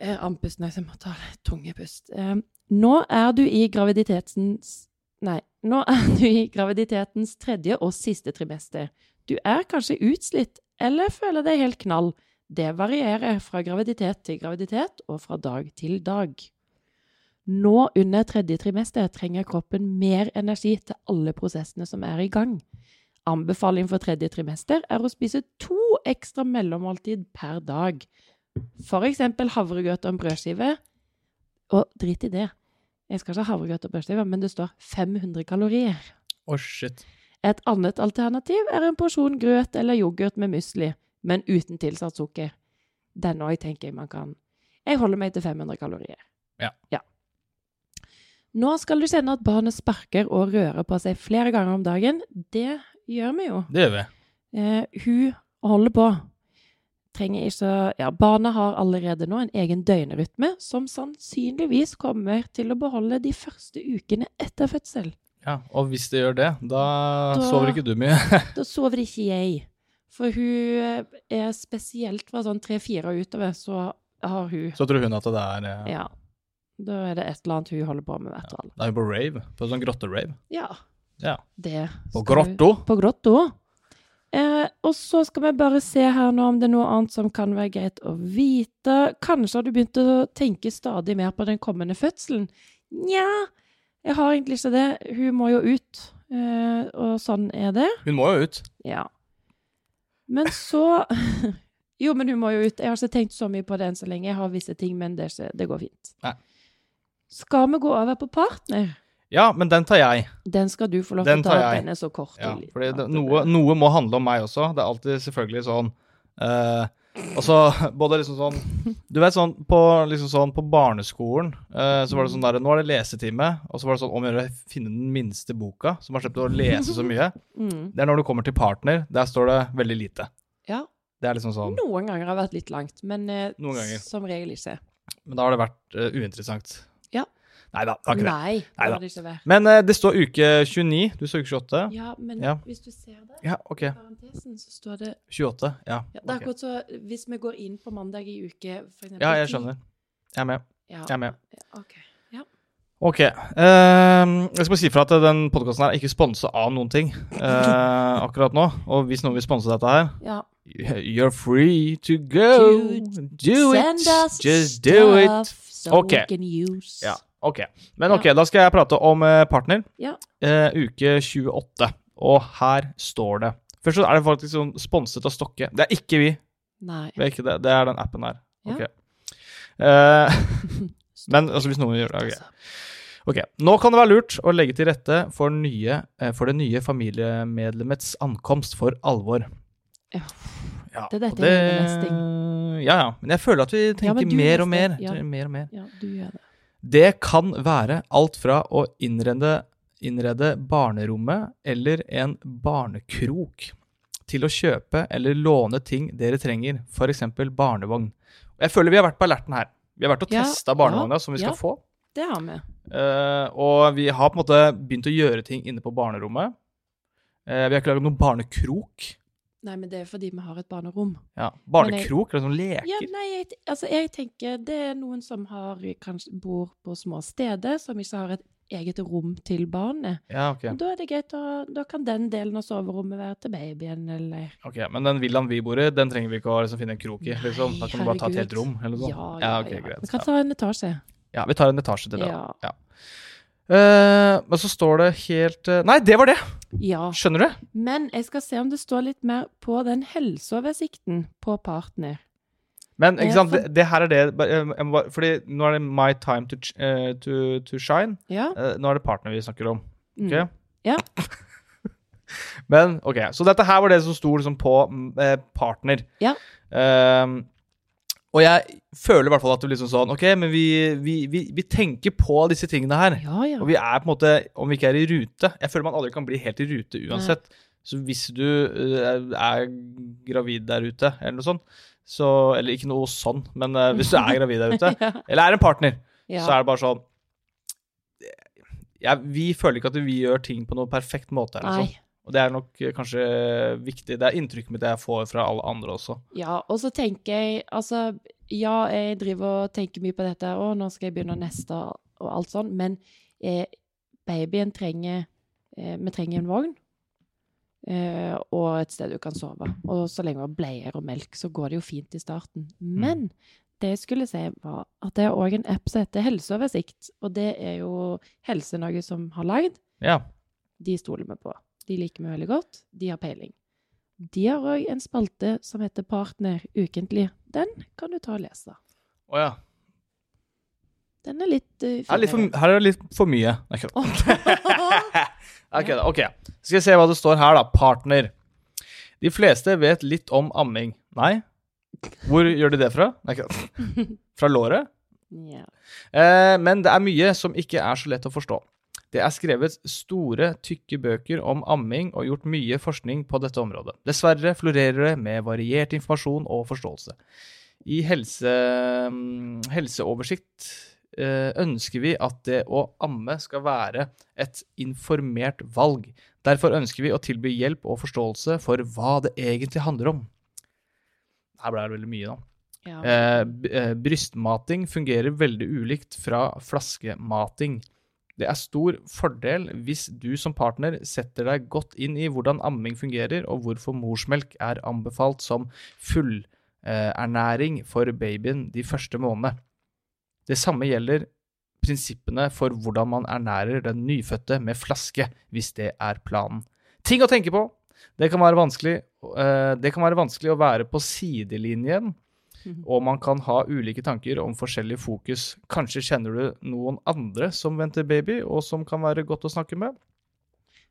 Speaker 2: Eh, Andpusten, jeg må ta litt tunge pust. Eh, nå er du i graviditetens Nei, nå er du i graviditetens tredje og siste trimester. Du er kanskje utslitt, eller føler deg helt knall. Det varierer fra graviditet til graviditet og fra dag til dag. Nå under tredje trimester trenger kroppen mer energi til alle prosessene som er i gang. Anbefaling for tredje trimester er å spise to ekstra mellommåltid per dag. For eksempel havregrøt og en brødskive. Og drit i det. Jeg skal ikke ha havregrøt og brødskive, men det står 500 kalorier.
Speaker 1: Å, shit.
Speaker 2: Et annet alternativ er en porsjon grøt eller yoghurt med musli, men uten tilsatt sukker. Den òg tenker jeg man kan. Jeg holder meg til 500 kalorier.
Speaker 1: Ja.
Speaker 2: Nå skal du kjenne at barnet sparker og rører på seg flere ganger om dagen. Det gjør vi jo.
Speaker 1: Det gjør vi.
Speaker 2: Eh, hun holder på. Trenger ikke Ja, barnet har allerede nå en egen døgnrytme som sannsynligvis kommer til å beholde de første ukene etter fødsel.
Speaker 1: Ja, Og hvis det gjør det, da,
Speaker 2: Da-
Speaker 1: sover ikke du mye.
Speaker 2: Da sover ikke jeg. For hun eh, er spesielt fra sånn tre-fire og utover, så har hun
Speaker 1: Så tror hun at det er eh,
Speaker 2: Ja. Da er det et eller annet hun holder på med, i hvert fall.
Speaker 1: Da er hun på rave. På sånn grotte-rave.
Speaker 2: Ja.
Speaker 1: Ja.
Speaker 2: Det
Speaker 1: På
Speaker 2: skal hun-
Speaker 1: grotto.
Speaker 2: På grotto. Eh, og så skal vi bare se her nå om det er noe annet som kan være greit å vite. Kanskje har du begynt å tenke stadig mer på den kommende fødselen? Nja, jeg har egentlig ikke det. Hun må jo ut. Eh, og sånn er det.
Speaker 1: Hun må jo ut.
Speaker 2: Ja. Men så Jo, men hun må jo ut. Jeg har ikke tenkt så mye på det enn så lenge. Jeg har visse ting, men det, er ikke, det går fint.
Speaker 1: Nei.
Speaker 2: Skal vi gå over på partner?
Speaker 1: Ja, men den tar jeg.
Speaker 2: Den skal du få lov
Speaker 1: Den
Speaker 2: til å ta.
Speaker 1: tar jeg.
Speaker 2: Den er så kort. og
Speaker 1: Ja,
Speaker 2: liten
Speaker 1: fordi
Speaker 2: at
Speaker 1: det,
Speaker 2: det-
Speaker 1: noe, noe må handle om meg også. Det er alltid selvfølgelig sånn eh, Altså, både liksom sånn Du vet sånn på, liksom sånn, på barneskolen eh, så var det sånn der Nå er det lesetime, og så var det sånn om å gjøre å finne den minste boka, som har sluppet å lese så mye.
Speaker 2: Mm.
Speaker 1: Det er når du kommer til partner. Der står det veldig lite.
Speaker 2: Ja.
Speaker 1: Det er liksom sånn
Speaker 2: Noen ganger har det vært litt langt, men eh,
Speaker 1: Noen ganger.
Speaker 2: som regel ikke.
Speaker 1: Men da har det vært eh, uinteressant.
Speaker 2: Ja.
Speaker 1: Nei da, det har ikke det.
Speaker 2: Nei, det
Speaker 1: Neida.
Speaker 2: har det ikke vært.
Speaker 1: Men eh, det står uke 29. Du står uke 28. Ja,
Speaker 2: Ja, men
Speaker 1: Ja.
Speaker 2: hvis du ser det,
Speaker 1: OK.
Speaker 2: i parentesen, så står det
Speaker 1: 28. Ja.
Speaker 2: ja, Det er
Speaker 1: ok.
Speaker 2: akkurat så Hvis vi går inn på mandag i uke, for eksempel
Speaker 1: ja, jeg
Speaker 2: ti-
Speaker 1: skjønner. Jeg er med.
Speaker 2: Ja,
Speaker 1: Jeg er med.
Speaker 2: ok.
Speaker 1: Ok. ehm, jeg skal bare si fra at den podkasten her er ikke sponsa av noen ting eh, akkurat nå. Og hvis noen vil sponse dette her,
Speaker 2: Ja.
Speaker 1: you're free to go. Do it.
Speaker 2: Send us
Speaker 1: Just do it.
Speaker 2: stuff So
Speaker 1: Ok.
Speaker 2: we can use.
Speaker 1: Ja. Ok. Men ok, da skal jeg prate om eh, partner.
Speaker 2: Ja.
Speaker 1: Eh, uke 28. Og her står det Først så er det faktisk sånn sponset av Stokke. Det er ikke vi.
Speaker 2: Nei.
Speaker 1: Det er, ikke det. Det er den appen her.
Speaker 2: Ja.
Speaker 1: Ok. Eh, men altså, hvis noen gjør det ok.
Speaker 2: Altså,
Speaker 1: Ok, Nå kan det være lurt å legge til rette for, nye, eh, for det nye familiemedlemmets ankomst for alvor.
Speaker 2: Ja.
Speaker 1: Ja,
Speaker 2: Det er dette
Speaker 1: og
Speaker 2: jeg gjør mest
Speaker 1: Ja, ja. Men jeg føler at vi tenker
Speaker 2: men du
Speaker 1: mer, og
Speaker 2: leste,
Speaker 1: mer,
Speaker 2: ja.
Speaker 1: Tenker mer og mer.
Speaker 2: Ja, du gjør det.
Speaker 1: Det kan være alt fra å innrede, innrede barnerommet eller en barnekrok til å kjøpe eller låne ting dere trenger, f.eks. barnevogn. Og jeg føler vi har vært på alerten her. Vi har vært og
Speaker 2: Ja,
Speaker 1: testa barnevogna som vi
Speaker 2: ja.
Speaker 1: skal få.
Speaker 2: Det har vi.
Speaker 1: Eh, og vi har på en måte begynt å gjøre ting inne på barnerommet. Eh, vi har ikke laget noen barnekrok.
Speaker 2: Nei, men det er fordi vi har et barnerom.
Speaker 1: Ja,
Speaker 2: Men jeg-
Speaker 1: barnekrok, eller sånn leker.
Speaker 2: Ja, nei, jeg, altså, jeg tenker det er noen som har, kanskje bor på små steder, som ikke har et eget rom til barnet.
Speaker 1: Ja, ok.
Speaker 2: Og Da er det greit, å- da kan den delen av soverommet være til babyen, eller
Speaker 1: Ok, Men den villaen vi bor i, den trenger vi ikke å liksom, finne en krok i.
Speaker 2: Nei,
Speaker 1: Liksom. Da kan du bare ta et helt
Speaker 2: herregud.
Speaker 1: rom. eller noe sånt. ja,
Speaker 2: Ja, ja,
Speaker 1: ok,
Speaker 2: ja.
Speaker 1: greit.
Speaker 2: Vi kan
Speaker 1: Ja.
Speaker 2: ta en etasje.
Speaker 1: Ja, vi tar en etasje til det. da.
Speaker 2: Ja.
Speaker 1: Eh, men så står det helt eh, Nei, det var det!
Speaker 2: ja.
Speaker 1: Skjønner du?
Speaker 2: Men jeg skal se om det står litt mer på den helseoversikten på partner.
Speaker 1: Men ikke
Speaker 2: Ja,
Speaker 1: sant,
Speaker 2: for-
Speaker 1: det, det her er det bare- jeg må- jeg må bare- Fordi nå er det my time to, ch- eh, to, to shine.
Speaker 2: Ja.
Speaker 1: Eh, nå er det partner vi snakker om.
Speaker 2: Mm.
Speaker 1: Ok?
Speaker 2: Ja.
Speaker 1: Men OK, så dette her var det som sto liksom på mm, eh, partner.
Speaker 2: Ja.
Speaker 1: Ehm, og jeg føler i hvert fall at det blir liksom sånn OK, men vi, vi, vi, vi tenker på disse tingene her.
Speaker 2: Ja, ja.
Speaker 1: Og vi er på en måte, om vi ikke er i rute Jeg føler man aldri kan bli helt i rute uansett. Så hvis du eh, er gravid der ute, eller noe sånt, så Eller ikke noe sånn, men eh, hvis du er gravid der ute,
Speaker 2: ja.
Speaker 1: eller er en partner,
Speaker 2: ja.
Speaker 1: så er det bare sånn jeg, Vi føler ikke at vi gjør ting på noen perfekt måte. Eller noe
Speaker 2: Nei.
Speaker 1: sånt. Og det sånn. er nok eh, kanskje viktig. Det er inntrykket mitt jeg får fra alle andre også.
Speaker 2: Ja, og så tenker jeg Altså, ja, jeg driver og tenker mye på dette, og nå skal jeg begynne neste og alt sånn, men eh, babyen trenger eh, Vi trenger en vogn. Eh, og et sted du kan sove. Og så lenge du har bleier og melk, så går det jo fint i starten.
Speaker 1: Mm.
Speaker 2: Men det jeg skulle si, var at det er òg en app som heter Helseoversikt. Og det er jo Helse-Norge som har lagd.
Speaker 1: Ja.
Speaker 2: De stoler vi på. De liker vi veldig godt. De har peiling. De har òg en spalte som heter Partner ukentlig. Den kan du ta og lese.
Speaker 1: Å ja.
Speaker 2: Den er litt uh,
Speaker 1: Her er, litt for, her er det litt for mye. Nei, kødd. Jeg kødder. Ok. Skal vi se hva det står her, da. Partner. De fleste vet litt om amming. Nei? Hvor gjør de det fra? Nei, kødd. Fra låret?
Speaker 2: ja.
Speaker 1: Eh, men det er mye som ikke er så lett å forstå. Det er skrevet store, tykke bøker om amming og gjort mye forskning på dette området. Dessverre florerer det med variert informasjon og forståelse. I helse, mm, helseoversikt eh, ønsker vi at det å amme skal være et informert valg. Derfor ønsker vi å tilby hjelp og forståelse for hva det egentlig handler om. Her ble det veldig mye, da.
Speaker 2: Ja.
Speaker 1: Eh, b- eh, brystmating fungerer veldig ulikt fra flaskemating. Det er stor fordel hvis du som partner setter deg godt inn i hvordan amming fungerer, og hvorfor morsmelk er anbefalt som fullernæring for babyen de første månedene. Det samme gjelder prinsippene for hvordan man ernærer den nyfødte med flaske, hvis det er planen. Ting å tenke på! Det kan være vanskelig, eh, det kan være vanskelig å være på sidelinjen og man kan ha ulike tanker om forskjellig fokus. Kanskje kjenner du noen andre som venter baby, og som kan være godt å snakke med?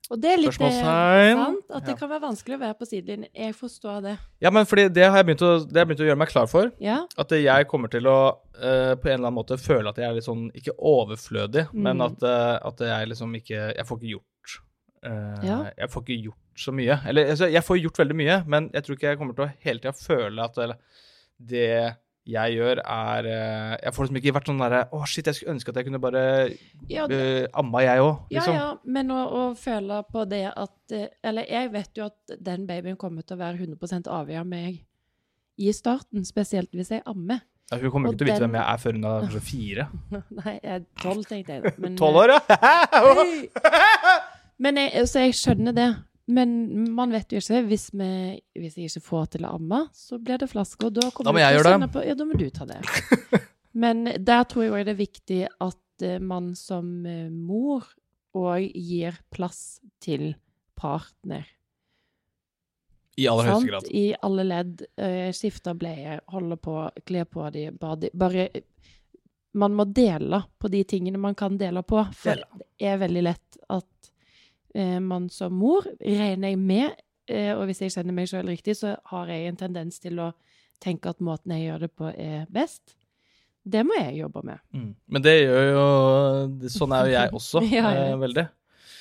Speaker 2: Og det er litt eh,
Speaker 1: spørsmålstegn.
Speaker 2: sant at det
Speaker 1: Ja.
Speaker 2: kan være vanskelig å være på sidelinjen. Jeg forstår det.
Speaker 1: Ja, men fordi det har jeg begynt å, det har jeg begynt å gjøre meg klar for.
Speaker 2: Ja.
Speaker 1: At jeg kommer til å eh, på en eller annen måte føle at jeg er litt sånn, ikke overflødig, men
Speaker 2: Mm.
Speaker 1: at, eh, at jeg liksom ikke Jeg får ikke gjort eh,
Speaker 2: Ja.
Speaker 1: Jeg får ikke gjort så mye. Eller altså, jeg får gjort veldig mye, men jeg tror ikke jeg kommer til å hele tida føle at eller, det jeg gjør, er eh, Jeg får liksom ikke vært sånn derre Å, shit, jeg skulle ønske at jeg kunne bare
Speaker 2: ja det,
Speaker 1: Eh, amma jeg òg,
Speaker 2: Ja,
Speaker 1: liksom.
Speaker 2: ja, men å, å føle på det at eh, Eller jeg vet jo at den babyen kommer til å være 100 avhengig av meg i starten, spesielt hvis jeg ammer.
Speaker 1: Ja, Hun kommer jo
Speaker 2: Og
Speaker 1: ikke til å vite
Speaker 2: den-
Speaker 1: hvem jeg er før hun er kanskje fire.
Speaker 2: Nei, jeg er tolv, tenkte jeg da. men, eh,
Speaker 1: Tolv år, ja!
Speaker 2: Hei! Men jeg, altså, jeg skjønner det. Men man vet jo ikke. Hvis, vi, hvis jeg ikke får til å amme, så blir det flaske. Og da, kommer
Speaker 1: Da må
Speaker 2: vi
Speaker 1: jeg
Speaker 2: til å
Speaker 1: gjøre
Speaker 2: kjenne På, ja, da må du ta det. Men der tror jeg også det er viktig at at eh, man som eh, mor òg gir plass til partner.
Speaker 1: I aller
Speaker 2: sant?
Speaker 1: høyeste grad.
Speaker 2: I alle ledd. eh, Skifter bleier, holder på, kler på de, bader Bare Man må dele på de tingene man kan dele på. For
Speaker 1: Dele.
Speaker 2: det er veldig lett at eh, man som mor, regner jeg med, eh, og hvis jeg kjenner meg sjøl riktig, så har jeg en tendens til å tenke at måten jeg gjør det på, er best. Det må jeg jobbe med.
Speaker 1: Mm. Men det gjør jo det- Sånn er jo jeg også,
Speaker 2: Ja, jeg
Speaker 1: eh, veldig.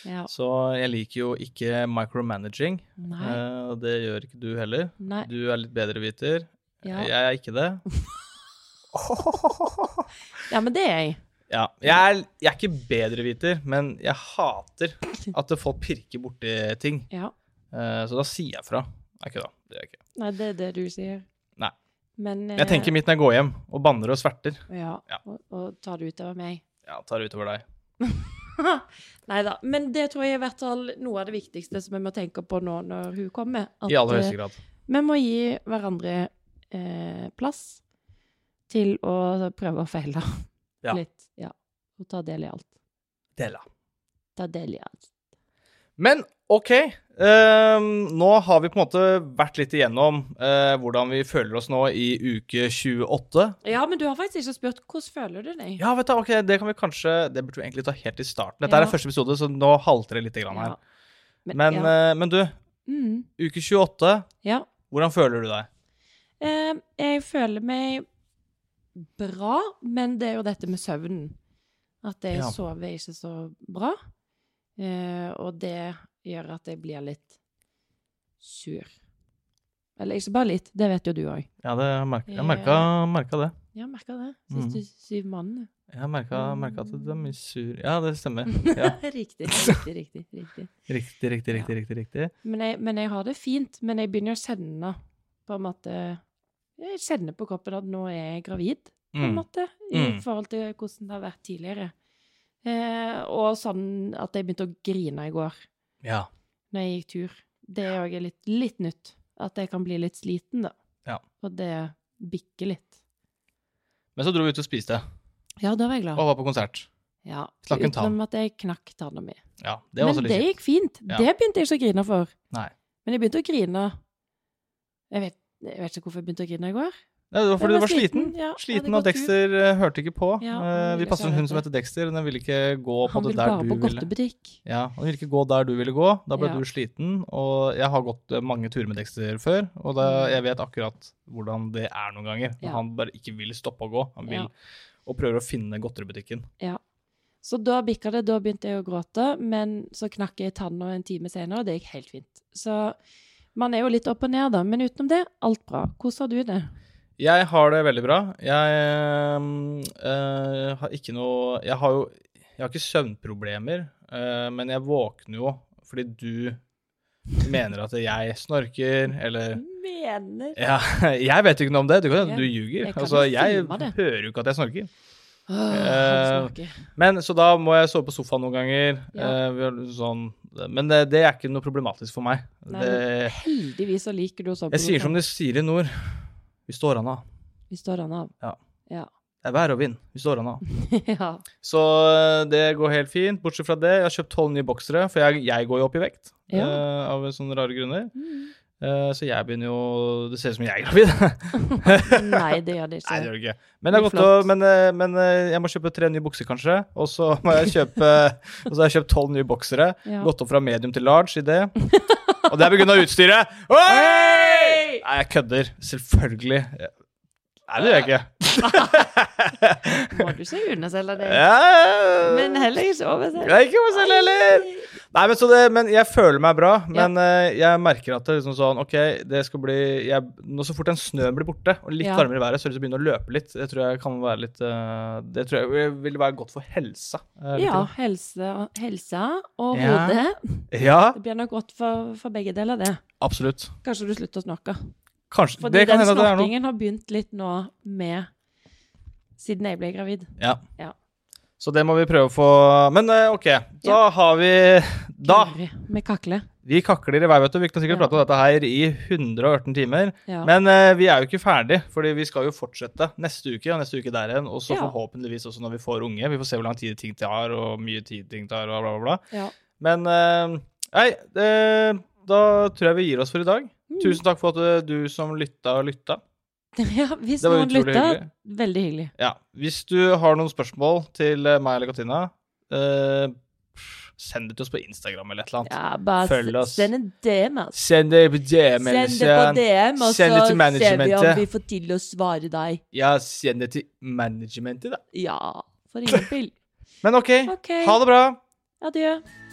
Speaker 2: Ja.
Speaker 1: Så jeg liker jo ikke micromanaging,
Speaker 2: Nei.
Speaker 1: eh, og det gjør ikke du heller.
Speaker 2: Nei.
Speaker 1: Du er litt bedreviter.
Speaker 2: Ja.
Speaker 1: Jeg er ikke det.
Speaker 2: ja, men det er jeg.
Speaker 1: Ja. Jeg er, jeg er ikke bedreviter, men jeg hater at folk pirker borti ting.
Speaker 2: Ja.
Speaker 1: Eh, Så da sier jeg fra. Nei, ikke da. Det gjør jeg ikke.
Speaker 2: Nei, det er det du sier.
Speaker 1: Nei.
Speaker 2: Men eh,
Speaker 1: Jeg tenker mitt når jeg går hjem og banner og sverter.
Speaker 2: Ja,
Speaker 1: Ja.
Speaker 2: Og, og tar det utover meg.
Speaker 1: Ja, tar det utover deg.
Speaker 2: Nei da. Men det tror jeg er i hvert fall noe av det viktigste som vi må tenke på nå når hun kommer. At,
Speaker 1: I aller
Speaker 2: eh,
Speaker 1: høyeste grad.
Speaker 2: Vi må gi hverandre eh, plass til å prøve og feile
Speaker 1: Ja.
Speaker 2: litt. Ja. Og ta del i alt.
Speaker 1: Dela.
Speaker 2: Ta del i alt.
Speaker 1: Men OK. ehm, nå har vi på en måte vært litt igjennom eh, hvordan vi føler oss nå i uke 28.
Speaker 2: Ja, men du har faktisk ikke spurt hvordan føler du deg.
Speaker 1: Ja, vet du, ok, det kan vi kanskje Det burde vi egentlig ta helt i starten. Dette
Speaker 2: Ja.
Speaker 1: er første episode, så nå halter det litt grann her.
Speaker 2: Men,
Speaker 1: Men,
Speaker 2: ja.
Speaker 1: eh, men du,
Speaker 2: Mm,
Speaker 1: uke 28,
Speaker 2: ja.
Speaker 1: hvordan føler du deg?
Speaker 2: Eh, jeg føler meg bra, men det er jo dette med søvnen. At jeg
Speaker 1: Ja.
Speaker 2: sover ikke så bra. Eh, og det gjør at jeg blir litt sur. Eller ikke bare litt, det vet jo du òg.
Speaker 1: Ja, det merka,
Speaker 2: Ja.
Speaker 1: jeg merka, merka det.
Speaker 2: Ja, merka det.
Speaker 1: Mhm.
Speaker 2: Siste syv månedene.
Speaker 1: Jeg merka, merka at du er mye sur. Ja, det stemmer. Ja,
Speaker 2: riktig, riktig, riktig. riktig.
Speaker 1: riktig, riktig, riktig. riktig, riktig.
Speaker 2: Men, jeg, men jeg har det fint. Men jeg begynner å kjenne på en måte Jeg kjenner på kroppen at nå er jeg gravid. på en
Speaker 1: Mm.
Speaker 2: måte, i
Speaker 1: Mm.
Speaker 2: forhold til hvordan det har vært tidligere. Eh, og sånn at jeg begynte å grine i går
Speaker 1: Ja.
Speaker 2: når jeg gikk tur. Det er òg litt, litt nytt. At jeg kan bli litt sliten, da.
Speaker 1: Ja.
Speaker 2: Og det bikker litt.
Speaker 1: Men så dro vi ut og spiste,
Speaker 2: Ja, da var jeg glad.
Speaker 1: og var på konsert.
Speaker 2: Ja,
Speaker 1: Snakk en tann.
Speaker 2: Utenom at jeg knakk tanna mi.
Speaker 1: Ja, det var
Speaker 2: Men
Speaker 1: også litt
Speaker 2: det
Speaker 1: kjipt.
Speaker 2: gikk fint.
Speaker 1: Ja.
Speaker 2: Det begynte jeg ikke å grine for.
Speaker 1: Nei.
Speaker 2: Men jeg begynte å grine Jeg vet, jeg vet ikke hvorfor jeg begynte å grine i går.
Speaker 1: Nei, Det var fordi du
Speaker 2: Jeg
Speaker 1: var sliten.
Speaker 2: Ja,
Speaker 1: Sliten,
Speaker 2: hadde
Speaker 1: og
Speaker 2: gått tur.
Speaker 1: Dexter eh, hørte ikke på.
Speaker 2: Ja,
Speaker 1: Eh,
Speaker 2: han
Speaker 1: vi
Speaker 2: ville
Speaker 1: passer
Speaker 2: seg
Speaker 1: en hund
Speaker 2: vekk.
Speaker 1: som heter Dexter, og den ville ikke gå på
Speaker 2: Han
Speaker 1: det
Speaker 2: ville
Speaker 1: der
Speaker 2: bare
Speaker 1: du
Speaker 2: på
Speaker 1: ville.
Speaker 2: godtebutikk.
Speaker 1: Ja, Han ville ikke gå der du ville gå. Da ble
Speaker 2: Ja.
Speaker 1: du sliten. Og jeg har gått eh, mange turer med Dexter før, og da, jeg vet akkurat hvordan det er noen ganger. Når
Speaker 2: Mm. Ja.
Speaker 1: Han bare ikke vil stoppe å gå. Han vil
Speaker 2: Ja.
Speaker 1: og prøver å finne godteributikken.
Speaker 2: Så da bikka det, da begynte jeg å gråte, men så knakk jeg i tanna en time senere, og det gikk helt fint. Så man er jo litt opp og ned, da, men utenom det, alt bra. Hvordan har du det?
Speaker 1: Jeg har det veldig bra. Jeg ehm, eh, har ikke noe Jeg har jo jeg har ikke søvnproblemer, eh, men jeg våkner jo fordi du mener at jeg snorker, eller
Speaker 2: Mener
Speaker 1: ja, Jeg vet jo ikke noe om det. Du, kan,
Speaker 2: Mm. Ja,
Speaker 1: du ljuger.
Speaker 2: jeg kan
Speaker 1: altså,
Speaker 2: jo
Speaker 1: jeg
Speaker 2: filme det.
Speaker 1: hører jo ikke at jeg snorker. Eh,
Speaker 2: Han snakker.
Speaker 1: Men Så da må jeg sove på sofaen noen ganger.
Speaker 2: Ja.
Speaker 1: eh, vi har sånn, men det, det er ikke noe problematisk for meg.
Speaker 2: Nei,
Speaker 1: det,
Speaker 2: Heldigvis så liker du å sove
Speaker 1: eh. jeg sier som de sier i nord. Vi står an av.
Speaker 2: Vi står han av.
Speaker 1: Det er vær og vind. Vi står an av.
Speaker 2: ja.
Speaker 1: Så øh, det går helt fint. Bortsett fra det, jeg har kjøpt tolv nye boksere, for jeg, jeg går jo opp i vekt
Speaker 2: Ja.
Speaker 1: øh, av sånne rare grunner.
Speaker 2: Mm.
Speaker 1: Eh, så jeg begynner jo Det ser ut som jeg er gravid.
Speaker 2: Nei, det gjør det ikke.
Speaker 1: Nei, det gjør det ikke. Men, det er godt
Speaker 2: Mye
Speaker 1: å,
Speaker 2: flott.
Speaker 1: men, øh, men øh, jeg må kjøpe tre nye bukser, kanskje. Og så må jeg kjøpe Og så har jeg kjøpt tolv nye boksere.
Speaker 2: Ja.
Speaker 1: Gått opp fra medium til large i det. Og det er pga. utstyret. Oi! Nei, jeg kødder. Selvfølgelig. Nei, det gjør jeg ikke.
Speaker 2: Må du ikke underselge det?
Speaker 1: Ja.
Speaker 2: Men heller ikke overselge.
Speaker 1: Jeg er ikke meg selv heller. Nei, men, så det, men jeg føler meg bra. Men eh, jeg merker at det er liksom sånn OK, det skal bli jeg, Nå så fort den snøen blir borte, og litt
Speaker 2: Ja.
Speaker 1: varmere i været, så har jeg lyst til å begynne å løpe litt. Det tror jeg kan være litt eh, Det tror jeg vil være godt for helsa. eh, vet
Speaker 2: Ja,
Speaker 1: du.
Speaker 2: helse, helse og
Speaker 1: Ja.
Speaker 2: hodet.
Speaker 1: ja.
Speaker 2: Det blir nok godt for, for begge deler, det.
Speaker 1: Absolutt.
Speaker 2: Kanskje du slutter å snakke.
Speaker 1: Kanskje
Speaker 2: Fordi
Speaker 1: Det kan
Speaker 2: den
Speaker 1: hende at det er noe.
Speaker 2: snorkingen har begynt litt nå med Siden jeg ble gravid.
Speaker 1: Ja.
Speaker 2: Ja.
Speaker 1: Så det må vi prøve å få Men eh, OK, da har vi Da!
Speaker 2: Guri, Med kakle.
Speaker 1: Vi kakler i vei, vet du. Vi kan sikkert
Speaker 2: Ja.
Speaker 1: prate om dette her i 118 timer.
Speaker 2: Ja.
Speaker 1: Men eh, vi er jo ikke ferdig, fordi vi skal jo fortsette neste uke og neste uke der igjen. Og så
Speaker 2: Ja.
Speaker 1: forhåpentligvis også når vi får unge. Vi får se hvor lang tid ting tar, og mye tid ting tar, og bla, bla, bla.
Speaker 2: ja.
Speaker 1: Men eh, nei, eh, da tror jeg vi gir oss for i dag.
Speaker 2: Mm.
Speaker 1: Tusen takk for at eh, du som lytta, lytta.
Speaker 2: ja hvis
Speaker 1: Det var
Speaker 2: noen
Speaker 1: utrolig
Speaker 2: lytter,
Speaker 1: hyggelig.
Speaker 2: veldig hyggelig.
Speaker 1: Ja. Hvis du har noen spørsmål til eh, meg eller Katina, eh, send det til oss på Instagram eller et eller annet.
Speaker 2: Ja, bare
Speaker 1: Følg oss.
Speaker 2: s- send en DM, altså.
Speaker 1: Send det på DM. eller
Speaker 2: Send det på DM, og så
Speaker 1: Send det til
Speaker 2: ser vi
Speaker 1: managementet.
Speaker 2: om vi får til å svare deg.
Speaker 1: Ja, send det til managementet, da.
Speaker 2: Ja, for eksempel.
Speaker 1: Men OK,
Speaker 2: OK.
Speaker 1: ha det bra.
Speaker 2: Adjø.